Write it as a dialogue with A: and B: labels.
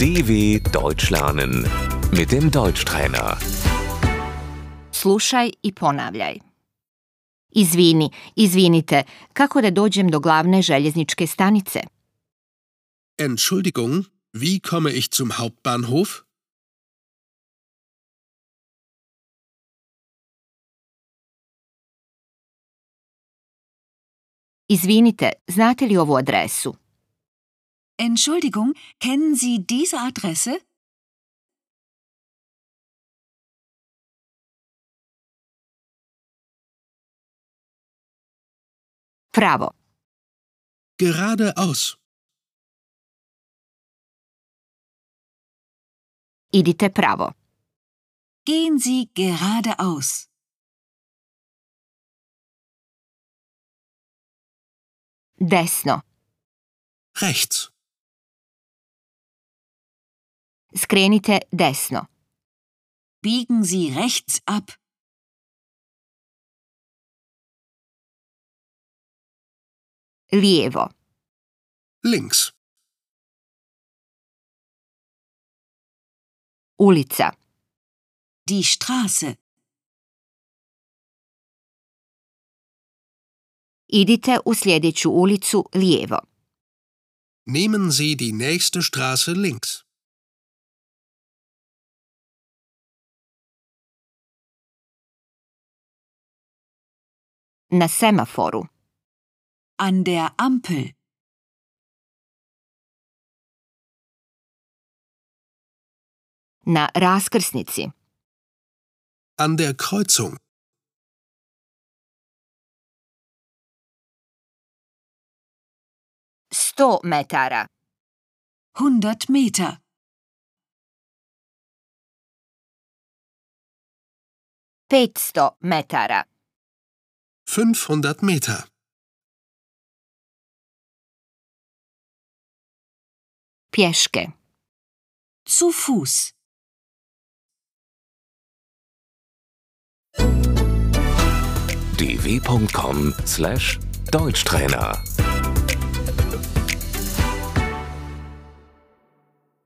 A: DW Deutsch lernen mit dem Deutschtrainer.
B: Slušaj i ponavljaj. Izvini, izvinite, kako da dođem do glavne željezničke stanice?
C: Entschuldigung, wie komme ich zum Hauptbahnhof?
B: Izvinite, znate li ovu adresu?
D: Entschuldigung, kennen Sie diese Adresse?
B: Pravo.
C: Geradeaus.
B: Idite pravo.
D: Gehen Sie geradeaus.
B: Desno.
C: Rechts.
B: Skrenite desno.
D: Biegen Sie rechts ab.
B: Lijevo.
C: Links.
B: Ulica.
D: Die Straße.
B: Idite u sljedeću ulicu lijevo.
C: Nehmen Sie die nächste Straße links.
B: Na semaforu.
D: An der Ampel.
B: Na raskrsnici.
C: An der Kreuzung.
B: Sto metara.
D: 100 Meter.
B: Petsto metara.
C: 500 Meter.
B: Pješke.
D: Zu Fuß.
A: dw.com/deutschtrainer